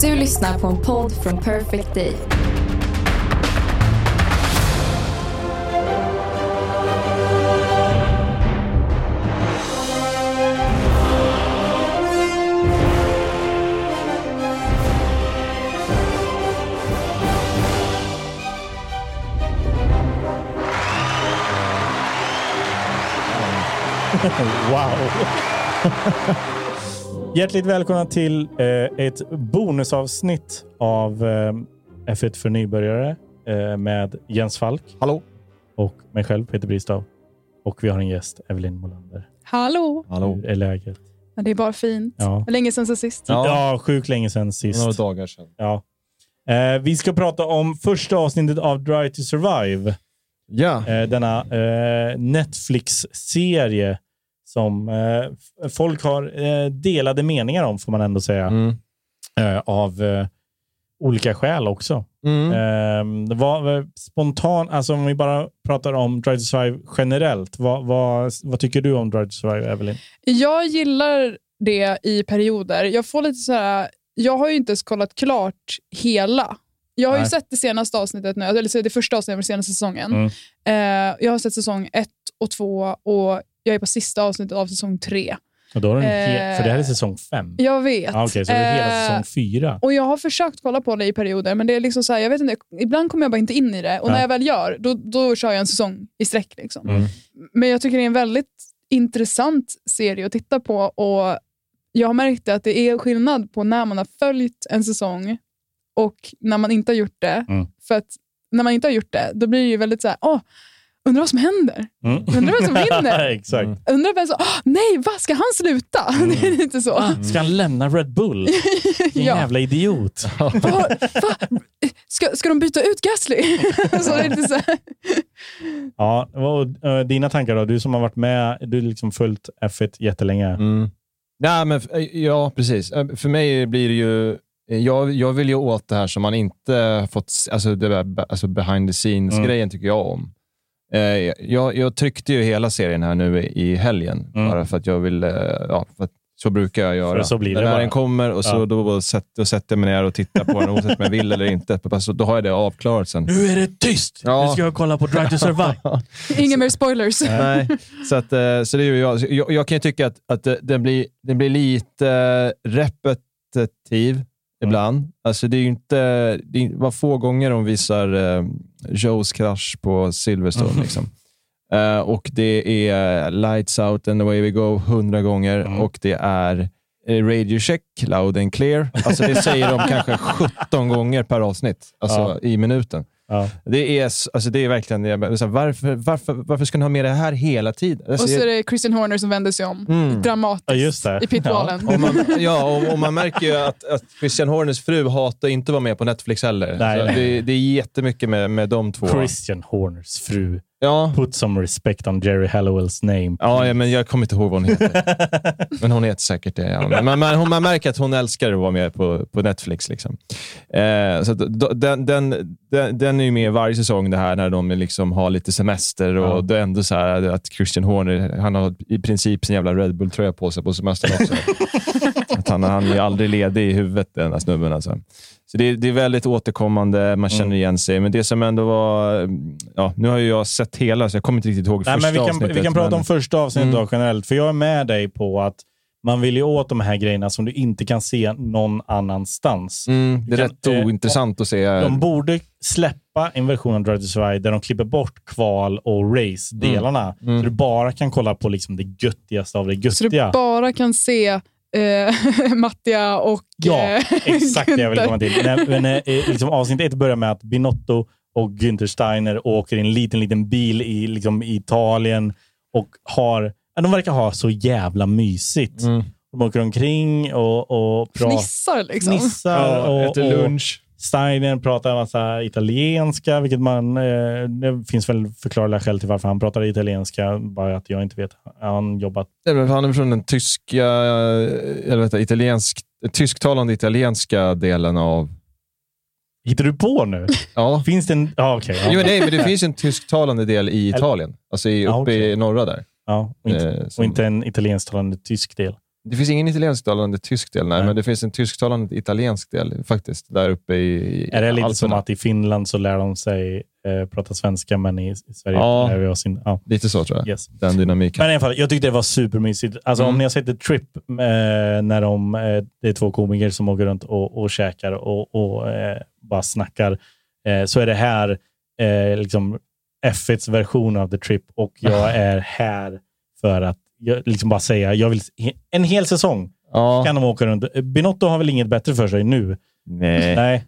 Du lyssnar på en podd från Perfect Day. Wow! Hjärtligt välkomna till eh, ett bonusavsnitt av eh, F1 för nybörjare eh, med Jens Falk Hallå? och mig själv, Peter Bristav. Och vi har en gäst, Evelyn Molander. Hallå! Hallå. Hur är läget? Ja, det är bara fint. Ja. Det var länge sedan så sist. Ja. Ja, sjukt länge sedan Några sist. dagar sedan. Ja. Eh, vi ska prata om första avsnittet av Drive to Survive. Ja. Eh, denna eh, Netflix-serie som eh, f- folk har eh, delade meningar om, får man ändå säga. Mm. eh, av eh, olika skäl också. Mm. Eh, vad, eh, spontan, alltså om vi bara pratar om Drive to Survive generellt, vad, vad, vad tycker du om Drive to Survive, Evelyn? Jag gillar det i perioder. Jag får lite så här, jag har ju inte ens kollat klart hela. Jag har ju Nej. sett det senaste avsnittet nu, eller så det första avsnittet av den senaste säsongen. Mm. Eh, jag har sett säsong ett och två och jag är på sista avsnittet av säsong tre. Och då har du en Eh, hel, för det här är säsong fem. Jag vet. Ah, Okej, så det är hela Eh, säsong fyra. Och Jag har försökt kolla på det i perioder, men det är liksom så här, jag vet inte, ibland kommer jag bara inte in i det. Och Nej. när jag väl gör, då, då kör jag en säsong i sträck. Liksom. Mm. Men jag tycker det är en väldigt intressant serie att titta på. Och Jag har märkt att det är skillnad på när man har följt en säsong och när man inte har gjort det. Mm. För att när man inte har gjort det, då blir det ju väldigt så här, åh, undrar vad som händer? Mm. Undrar vem som vinner? Exakt. Mm. Undrar vem som, åh, nej, vad ska han sluta? det är lite så. Ska han lämna Red Bull? Vilken Ja. jävla idiot. Va, va? Ska, ska de byta ut Gasly? så det är lite så här. Ja, och, eh, dina tankar då? Du som har varit med, du har liksom följt F1 jättelänge. Mm. Nej, men, f- ja, precis. Eh, För mig blir det ju... eh, Jag, jag vill ju åt det här som man inte fått... se- Alltså, det där, be- alltså behind the Mm. scenes-grejen tycker jag om. Eh, Jag, jag tryckte ju hela serien här nu i- i helgen, Mm. bara för att jag vill... eh, Ja, för att så brukar jag göra. För så blir det när bara. den kommer och så Ja. då, sätter, då sätter jag mig ner och tittar på den, oavsett om jag vill eller inte. Alltså, då har jag det avklarat sen. Nu är det tyst! Ja. jag kolla på Drive to Survive. Inga mer spoilers. Nej, så, att, eh, så det är ju jag. Så jag. Jag kan ju tycka att, att eh, den, blir, den blir lite eh, repetitiv ibland. Alltså det är ju inte, det är- var få gånger de visar eh, Joes krasch på Silverstone. Liksom. Eh, och det är Lights Out and Away We Go hundra gånger Mm. och det är eh, Radio Check, Loud and Clear. Alltså det säger de kanske 17 gånger per avsnitt, alltså i minuten. Ja. Det är, s- alltså det är verkligen det. jag bara- så här, Varför, varför, varför ska ni ha med det här hela tiden? Alltså, Och så är jag- det Christian Horner som vänder sig om. Mm. Dramatiskt Ja, just det. i pitballen. och man, ja, och, och man märker ju att, att Christian Horners fru hatar inte att vara med på Netflix heller. Nej, så nej. Det, det är jättemycket med, med de två. Christian Horners fru. Ja. Put some respect on Jerry Hallowells name. Ja, ja, men jag kommer inte ihåg vad hon heter. Men hon heter säkert det. Ja. Men man, man, hon- man märker att hon älskar att vara med på, på Netflix. Liksom. Eh, så att, då- den, den, den, den är ju med varje säsong, det här när de liksom har lite semester. Och Ja. det är ändå så här att Christian Horner han har i princip sin jävla Red Bull-tröja på sig på semestern också. att han, han är ju aldrig ledig i huvudet, den här snubben. Alltså. Så det, det är väldigt återkommande, man Mm. känner igen sig. Men det som ändå var... Ja, nu har ju jag sett hela, så jag kommer inte riktigt ihåg Nej, första men vi, kan, avsnittet. vi kan prata men- om första avsnittet Mm. då generellt, för jag är med dig på att man vill ju åt de här grejerna som du inte kan se någon annanstans. Mm, det är Kan- rätt eh, ointressant att se. De borde släppa en version av Drive to Survive där de klipper bort kval och race-delarna. Mm. Så du bara kan kolla på liksom det göttigaste av det Så du göttiga. bara kan se eh, Mattia och Ja, eh, exakt det jag vill Günther. komma till. När, men, eh, liksom, avsnitt ett börjar med att Binotto och Günther Steiner åker i en liten, liten bil i, liksom, i Italien och har, ja, de verkar ha så jävla mysigt. Mm. De åker omkring och, och pratar. fnissar. Liksom. Fnissar och, äter och lunch. Steiner pratar en massa italienska, vilket man... Eh, det finns väl förklarliga skäl till varför han pratar italienska, bara att jag inte vet. Han jobbat... Nej, men Han är från den tyska, eh, eller vänta, italiensk, tysktalande italienska delen av... Hittar du på nu? Ja. Finns det en... Ja, okej. Jo, ja, nej, men det finns ju en tysktalande del i Italien. Alltså i, uppe Ja, okej. i norra där. ja, och inte, Eh, som- och inte en italiensktalande tysk del. Det finns ingen italiensktalande tysk del, nej, Nej. men det finns en tysktalande italiensk del faktiskt, där uppe i... i Är det lite Alperna. som att i Finland så lär de sig eh, prata svenska, men i, i Sverige Ja. lär vi oss inte? Ja. Lite så tror jag. Yes. Den dynamiken. Men i alla fall, jag tyckte det var supermysigt. Alltså, Mm. Om ni har sett The Trip, eh, när de, eh, det är två komiker som åker runt och, och käkar och, och eh, bara snackar, eh, så är det här eh, liksom F1s version av The Trip och jag är här för att jag, liksom bara säga, jag vill se- en hel säsong ja. kan de åka runt. Binotto har väl inget bättre för sig nu? Nej. Nej. Eh,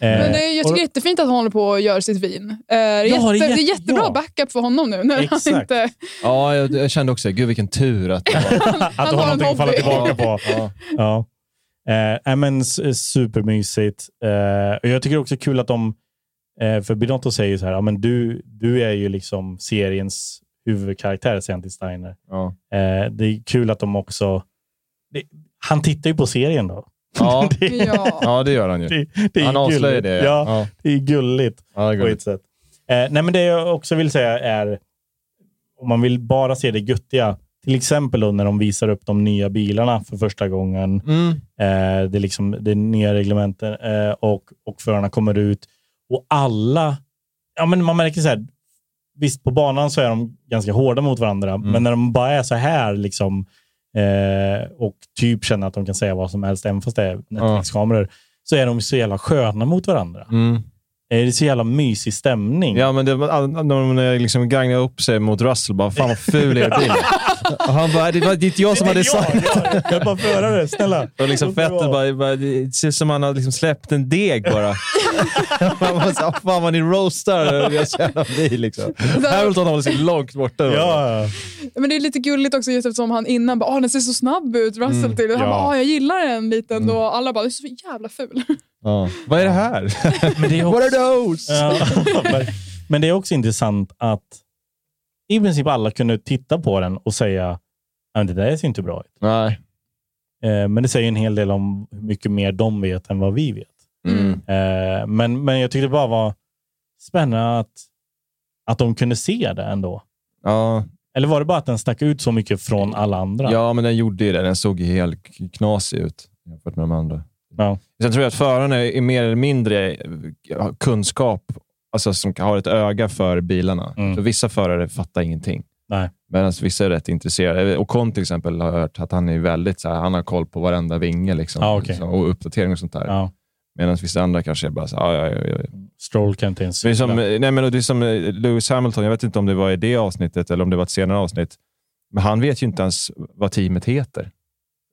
Men det, jag tycker det är och- jättefint att han håller på och gör sitt vin. Eh, det, Ja, är jätte, det är det, är jätte- jättebra ja. backup för honom nu. När Exakt. Han, inte, Ja, jag, jag kände också, gud vilken tur att det var. att han du har har en någonting att falla hobby. tillbaka på. ja. Ja. Eh, nej, men s- supermysigt. Eh, och jag tycker också kul att de, eh, för Binotto säger ju så här, ja, men du, du är ju liksom seriens huvudkaraktär, säger han till Steiner. Ja. Eh, det är kul att de också, det, han tittar ju på serien då. Ja. det, ja. ja, det gör han ju. det, det är Han avslöjar gulligt. det. Ja, ja. det är gulligt Ja, det på går ett sätt. Eh, nej, men det jag också vill säga är, om man vill bara se det göttiga, till exempel då när de visar upp de nya bilarna för första gången. Mm. Eh, det, är liksom, det är nya reglementen eh, och, och förarna kommer ut. Och alla... Ja, men man märker så här, visst, på banan så är de ganska hårda mot varandra, men när de bara är så här liksom, eh, och typ känner att de kan säga vad som helst, även fast det är Netflix-kameror, så är de så jävla sköna mot varandra. Mm. Eh, Det är så jävla mysig stämning. Ja, men det var all- när de liksom gagnade upp sig mot Russell, bara fan vad ful er bil är. Och han bara, det var det är inte jag som hade sagt jag, jag, jag Alltså, är bara förare, snälla. Och liksom Låt mig Vettel vara. bara, bara, det ser ut som han har liksom släppt en deg bara. man bara så, "Ah, fan vad ni roastar deras jävla bil. Liksom. Hamilton håller sig långt borta. då. Ja, Men det är lite gulligt också just eftersom han innan bara, "Åh, den ser så snabb ut, Russell Mm, till. Och Han ja. Mm. bara, "Ah, jag gillar den lite ändå. Och Alla bara, du är så jävla ful. Ja. Vad är det här? men det är What are those? Ja, men- men det är också intressant att i princip alla kunde titta på den och säga att det där ser inte bra ut. Nej. Eh, Men det säger en hel del om hur mycket mer de vet än vad vi vet. Mm. Eh, Men, men jag tyckte det bara var spännande att, att de kunde se det ändå. Ja. Eller var det bara att den stack ut så mycket från alla andra? ja, men den gjorde ju det. Den såg ju helt knasig ut jämfört med de andra. Ja. Sen tror jag att förarna är mer eller mindre eh, har kunskap, alltså som har ett öga för bilarna. Mm. Så vissa förare fattar ingenting. Nej. Medan vissa är rätt intresserade. Eh, Och Kon till exempel har jag hört att han är väldigt så här, han har koll på varenda vinge liksom, Ja, Ah, okej. Så- och uppdatering och sånt där. Ja. Medan vissa andra kanske är bara så här, "Ah, ja, ja, ja, ja." Stroll kan inte ens Det är som, cykla. nej, men det är som eh, Lewis Hamilton, jag vet inte om det var i det avsnittet eller om det var ett senare avsnitt, men han vet ju inte ens vad teamet heter.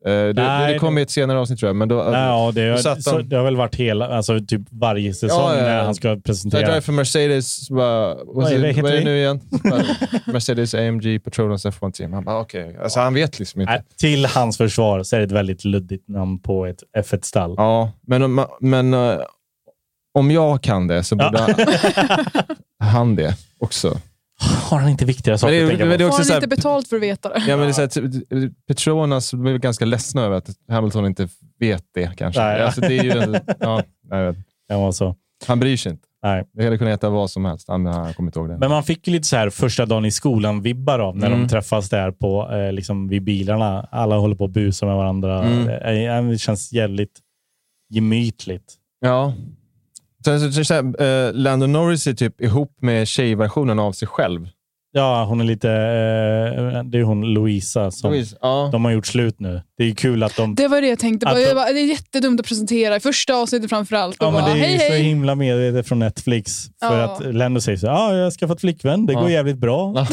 Eh, Det, Nej, det kom i ett senare avsnitt tror jag, men då, eh, Nej, ja, det, då har, satt så, han- det har väl varit hela, alltså typ varje säsong Ja, ja, ja. när han ska När jag presentera. driver för Mercedes, så bara, vad Oj, vad är heter vad är det vi? nu igen? Bara, Mercedes AMG Petronas F1 Team. Han bara, okej. Alltså, han vet liksom inte. Nej, till hans försvar så är det ett väldigt luddigt namn på ett F1-stall. Ja, men, om- men eh, om jag kan det så borde han det också. Har han inte viktigare Men saker det, att tänka men det på? är Har också han så här, inte betalt för att veta det? ja, men det är så här, typ, Petronas blev ganska ledsna över att Hamilton inte vet det kanske. Nej, ja. Alltså, det är ju en, ja, jag vet. Det var så. Han bryr sig inte. Nej. Det hade kunnat heta vad som helst. Han, han kommer inte ihåg det. Men man fick ju lite så här första dagen i skolan vibbar av när Mm. de träffas där på, eh, liksom vid bilarna. Alla håller på och busar med varandra. Mm. Eh, eh, Det känns jävligt gemytligt. Ja. Sen så, så, så, här, eh, Lando Norris är typ ihop med tjejversionen av sig själv. Ja, hon är lite... Eh, det är hon Louisa som... Louise, ja. De har gjort slut nu. Det är kul att de... Det var det jag tänkte på. Att- Jag bara, det är jättedumt att presentera i första avsnittet framförallt. Ja, men det är ju hej, så hej. himla medvetet från Netflix. För Ja. att Lando säger så här, ah, jag har skaffat flickvän, det Ja. går jävligt bra.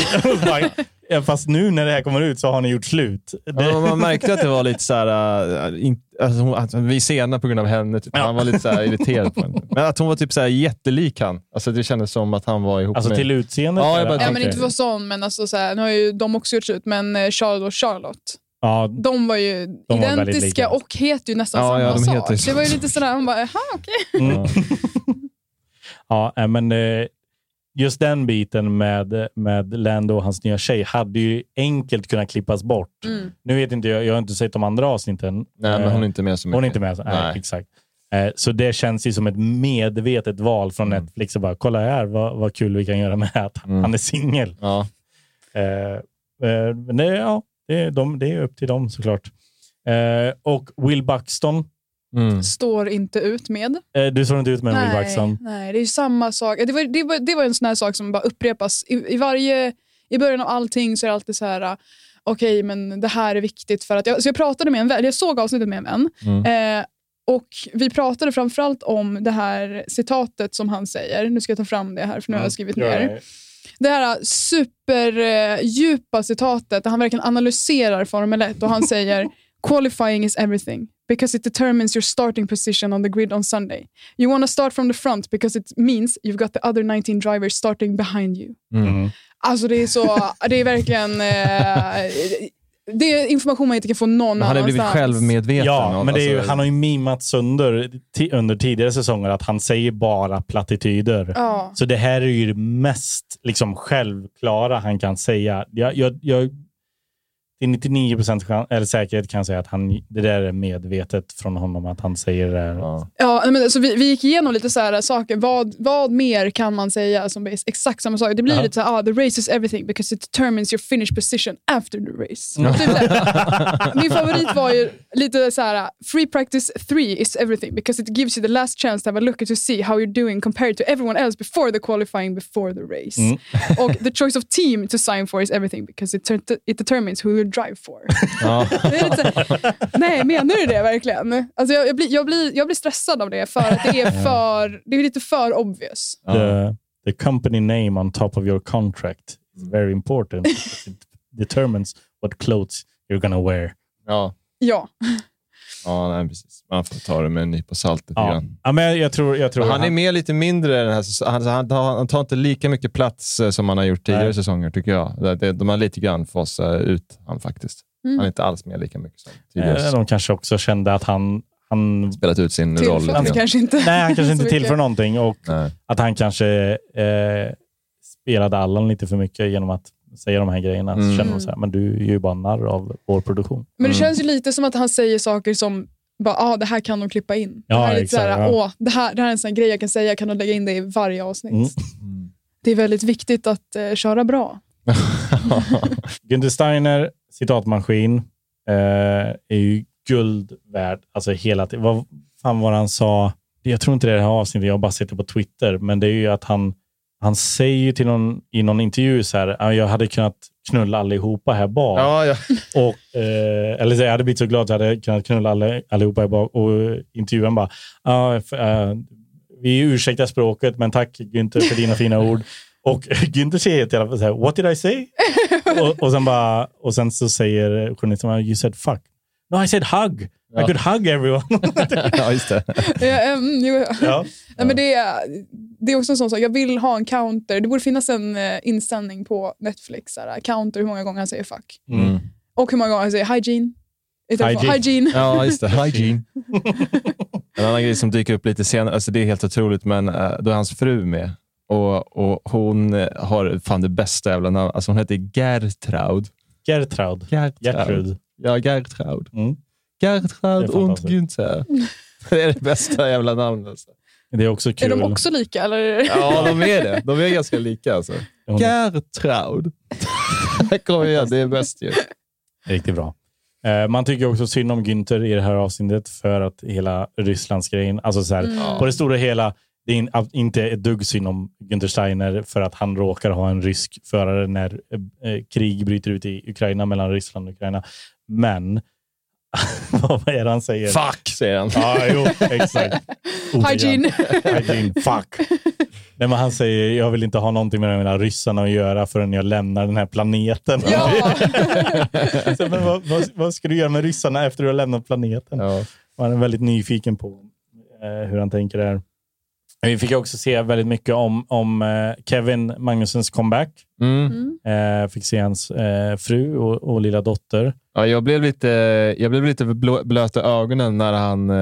Ja, Fast nu när det här kommer ut så har ni gjort slut. Det, Ja, men man märkte att det var lite så här, äh, in, alltså hon, att vi är sena på grund av henne. Typ. Han var lite så här irriterad på henne. Men att hon var typ så här jättelik han. Alltså det kändes som att han var ihop Alltså med... till utseendet? Ja, jag bara eller? Ja, tänkte- men inte var sån, men alltså, så här, nu har ju de också gjort slut, men eh, Charles och Charlotte, ja, de var ju var väldigt lika. identiska och heter ju nästan Ja, samma ja, de sak. heter ju det var ju samma lite sådär, hon bara, aha, okej. mm. ja, nej, men eh, just den biten med, med Lando och hans nya tjej hade ju enkelt kunnat klippas bort. Mm. Nu vet inte jag, jag har inte sett de andra avsnitten. Nej, men Eh, hon är inte med så mycket. hon är inte med. så- Nej, Nej. exakt. Eh, Så det känns ju som ett medvetet val från Mm. Netflix. Och bara, kolla här vad, vad kul vi kan göra med att Mm. han är singel. Ja. Eh, eh, Men det, ja, det, är- de, det är upp till dem såklart. Eh, Eh, och Will Buxton. Mm. Står inte ut med. Eh, du såg inte ut med Will Nej, Buxton. nej, det är ju samma sak. Det var, det, var, det var en sån här sak som bara upprepas. I, i, varje, I början av allting så är det alltid så här, ah, okej, men det här är viktigt för att... Jag, så jag pratade med en vän, jag såg avsnittet med en vän. Mm. Eh, och vi pratade framförallt om det här citatet som han säger. Nu ska jag ta fram det här, för nu har jag skrivit ner. Ja, Det här superdjupa citatet där han verkligen analyserar Formel 1 och han säger “Qualifying is everything because it determines your starting position on the grid on Sunday. You want to start from the front because it means you've got the other 19 drivers starting behind you.” Mm. Alltså det är så, det är verkligen... Eh, det är information man inte kan få någon Men han har blivit annanstans. självmedveten. ja, och- men det är ju, alltså- han har ju mimat sönder ti- under tidigare säsonger att han säger bara plattityder. Ja. Så det här är ju det mest liksom, självklara han kan säga. Jag, jag, jag, till 99 procent eller säkerhet kan jag säga att han, det där är medvetet från honom att han säger det där. Ja. Ja, nej, men alltså, vi, vi gick igenom lite så här äh, saker. Vad, vad mer kan man säga som är exakt samma sak? Det blir Ja. lite så här, ah, the race is everything because it determines your finish position after the race. Typ så här. Min favorit var ju lite så här, äh, free practice 3 is everything because it gives you the last chance to have a look to see how you're doing compared to everyone else before the qualifying before the race. Mm. Och the choice of team to sign for is everything because it, ter- it determines who you drive for. Ja. Det är lite så här, nej, menar du det verkligen? Alltså jag, jag, blir, jag, blir, jag blir stressad av det för att det är, för, det är lite för obvious. The, the company name on top of your contract is very important. because it determines what clothes you're gonna wear. Ja. Ja, Ja, nej, precis. Man får ta det med en nypa salt lite Ja. grann. Ja, men jag- jag tror, jag tror Men han är med lite mindre den här säsongen. Han, han, tar- han tar inte lika mycket plats eh, som han har gjort tidigare Nej. säsonger, tycker jag. Det- det- De har lite grann fasat ut han faktiskt. Mm. Han är inte alls med lika mycket som tidigare. Eh, säsonger. De kanske också kände att han... han Spelat ut sin Typ roll lite tillfället grann. kanske inte. nej, han kanske så inte mycket. tillför någonting och Nej. att han kanske eh, spelade Allan lite för mycket genom att säga de här grejerna. Mm. Så känner de så här, men du är ju bara narr av vår produktion. Men det Mm. känns ju lite som att han säger saker som bara, ah, det här kan de klippa in. det Ja, här är lite exakt, såhär, ja. Åh, det, här, det här är en sån här grej jag kan säga, kan de lägga in det i varje avsnitt? Mm. Mm. Det är väldigt viktigt att eh, köra bra. Günther Steiner, citatmaskin, eh, är ju guld värd. Alltså hela tiden. Vad fan var det han sa? Jag tror inte det är det här avsnittet, jag har bara sett det på Twitter. Men det är ju att han, han säger ju till någon, i någon intervju så här, "Ah, jag hade kunnat knulla allihopa här bak. ja, ja. Och, eh, eller så, jag hade blivit så glad att jag hade kunnat knulla alla, allihopa här bak. Och eh, intervjuaren bara, "Ja, f- eh, vi ursäktar språket, men tack Günther för dina fina ord. Och Günther säger till alla, så här, what did I say? och, och, sen bara, och sen så säger journalisten, you said fuck. No, I said hug. I Ja. could hug everyone. ja, just det. ja, ehm, jo, ja. ja. Nej, men det, är- det är också en sån sak. Jag vill ha en counter. Det borde finnas en eh, inställning på Netflix. Så här, counter hur många gånger han säger fuck. Mm. Och hur många gånger han säger hygiene. Istället för Hygiene. hygiene. Ja, just det. Hygiene. en annan grej som dyker upp lite senare, alltså det är helt otroligt, men eh, då är hans fru med. Och, och Hon eh, har fan det bästa jävla namnet. Alltså hon heter Gertraud. Gertraud. Gertrud. Ja, Gertraud. Mm. Gertraud Det är und fantastiskt. Günther. Det är det bästa jävla namnet. Alltså. Det är också Är kul. de också lika? Eller? Ja, de är det. De är ganska lika. Alltså. Hon- Gertraud. Kom igen, det är bäst ju. Riktigt bra. Eh, Man tycker också synd om Günther i det här avsnittet för att hela Rysslandsgrejen, alltså så här, Mm. på det stora hela, det är in, ab- inte ett dugg synd om Günther Steiner för att han råkar ha en rysk förare när eh, eh, krig bryter ut i Ukraina mellan Ryssland och Ukraina. Men, vad är det han säger? Fuck, säger han. Ja, jo, exakt. Hygiene. Hygiene, fuck. Nej, men han säger, jag vill inte ha någonting med de här ryssarna att göra förrän jag lämnar den här planeten. Ja. Så, men vad, vad, vad ska du göra med ryssarna efter du har lämnat planeten? Ja. Man är väldigt nyfiken på eh, hur han tänker där. Vi fick också se väldigt mycket om, om eh, Kevin Magnussons comeback. Mm. Eh, fick se hans eh, fru och, och lilla dotter. Ja, jag blev lite, jag blev lite blå, blöta i ögonen när han, eh,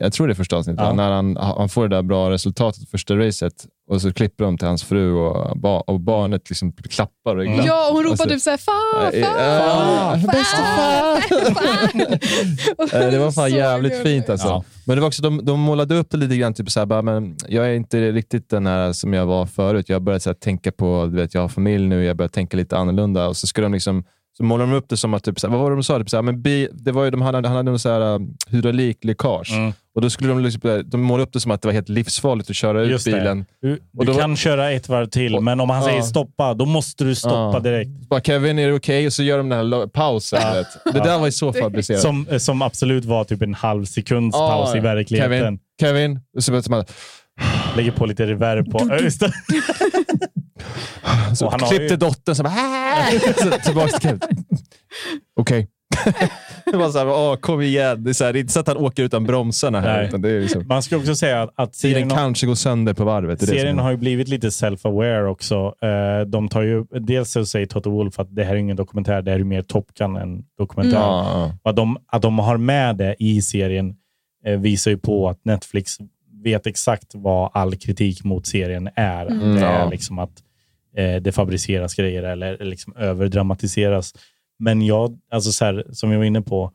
jag tror det är första avsnittet, Ja. när han, han får det där bra resultatet första racet och så klipper de till hans fru och, ba, och barnet liksom klappar och är glatt. Ja, och hon ropar Alltså, typ såhär fa, eh, fa, eh, fa, bästa fa. Eh, Det var fan Så jävligt gulligt. fint alltså. Ja. Men det var också, de, de målade upp det lite grann, typ så här, bara, men jag är inte riktigt den här som jag var förut. Jag har börjat så här, tänka på, du vet, jag har familj nu, jag börjar tänka lite annorlunda. Och så skulle de liksom Så målar de upp det som att, typ, så här, vad var det de sa? Typ, så här, men bi, det var ju, de hade, han hade någon så här, um, hydraulikläckage. Mm. Och då skulle de, liksom, de måla upp det som att det var helt livsfarligt att köra ut Just det. bilen. Du, Och du då- kan köra ett varv till, Och- men om han Ja. säger stoppa, då måste du stoppa Ja. direkt. Så Bara, Kevin, är det okej? Och så gör de den här lo- pausen. du vet. Det där var ju så fabricerat. Som, eh, som absolut var typ en halv sekunds Ja, paus i ja. verkligheten. Kevin, Kevin. Och så, så, man, Lägger på lite reverb på. Ja, just det. så Och han har klippte ju- dottern så bara... "Ah!" så, tillbaka till Kevin. Okej. det var så här, åh, kom igen. Det är, så här, det är inte så att han åker utan bromsarna här. Nej. Utan det är liksom, Man ska också säga att, att tiden serien, har, kanske går sönder på varvet. Det är det serien som- har ju blivit lite self-aware också. Eh, De tar ju, dels så säger Toto Wolf att det här är ingen dokumentär, det här är mer Top Gun än dokumentär. Ja, Och Att, de, att de har med det i serien eh, visar ju Mm. på att Netflix vet exakt vad all kritik mot serien är. Mm. Det Ja. är liksom att eh, det fabriceras grejer eller liksom överdramatiseras. Men jag, alltså så här, som jag var inne på,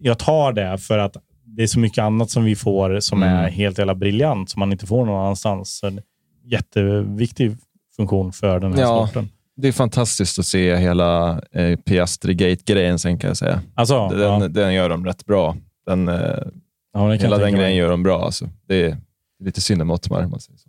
jag tar det för att det är så mycket annat som vi får som Mm. är helt jävla briljant som man inte får någon annanstans. Så En jätteviktig funktion för den här Ja. sporten. Det är fantastiskt att se hela eh, Piastri Gate-grejen sen kan jag säga. Alltså, den, ja, den gör de rätt bra. Den, eh, ja, det kan hela jag den tänka mig. grejen gör de bra. Alltså. Det är lite synd om Ottmar. om Man säger så.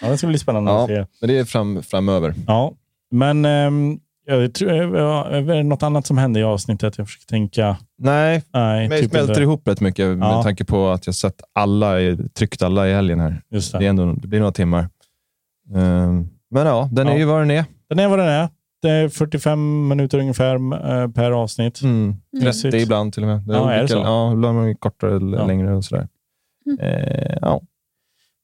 Ja, det ska bli spännande Ja. att se. Men det är fram, framöver. Ja, men ehm, jag tror, ja, är det något annat som hände i avsnittet? Jag försöker tänka. Nej, Nej, men jag typ smälter inte. ihop rätt mycket med Ja. tanke på att jag sett alla, i- tryckt alla i helgen här. Just Det, är det. ändå, det blir några timmar. Ehm, men ja, den är Ja. ju vad den är. Den är vad den är. Det är 45 minuter ungefär eh, per avsnitt. Mm. Precis. 30 ibland till och med. Ja, är det så? Ja, ibland är det kortare eller Ja. längre och sådär. Mm. Eh, ja.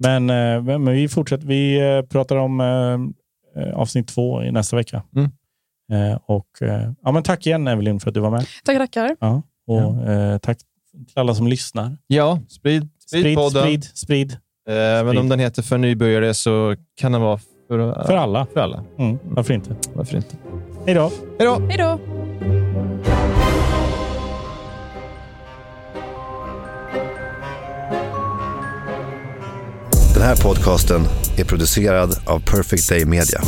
Men, eh, men vi fortsätter. Vi eh, pratar om eh, eh, avsnitt två i nästa vecka. Mm. Eh, och, eh, ja, men tack igen Evelyn för att du var med. Tack, tackar. Ja. Och, Ja. Eh, tack till alla som lyssnar. ja, sprid, sprid, Sprid, podden. sprid, sprid. Även Sprid. om den heter för nybörjare så kan den vara för, För alla. för alla. Mm, varför inte? Varför inte? Hej då! Hej då! Hej då. Den här podcasten är producerad av Perfect Day Media.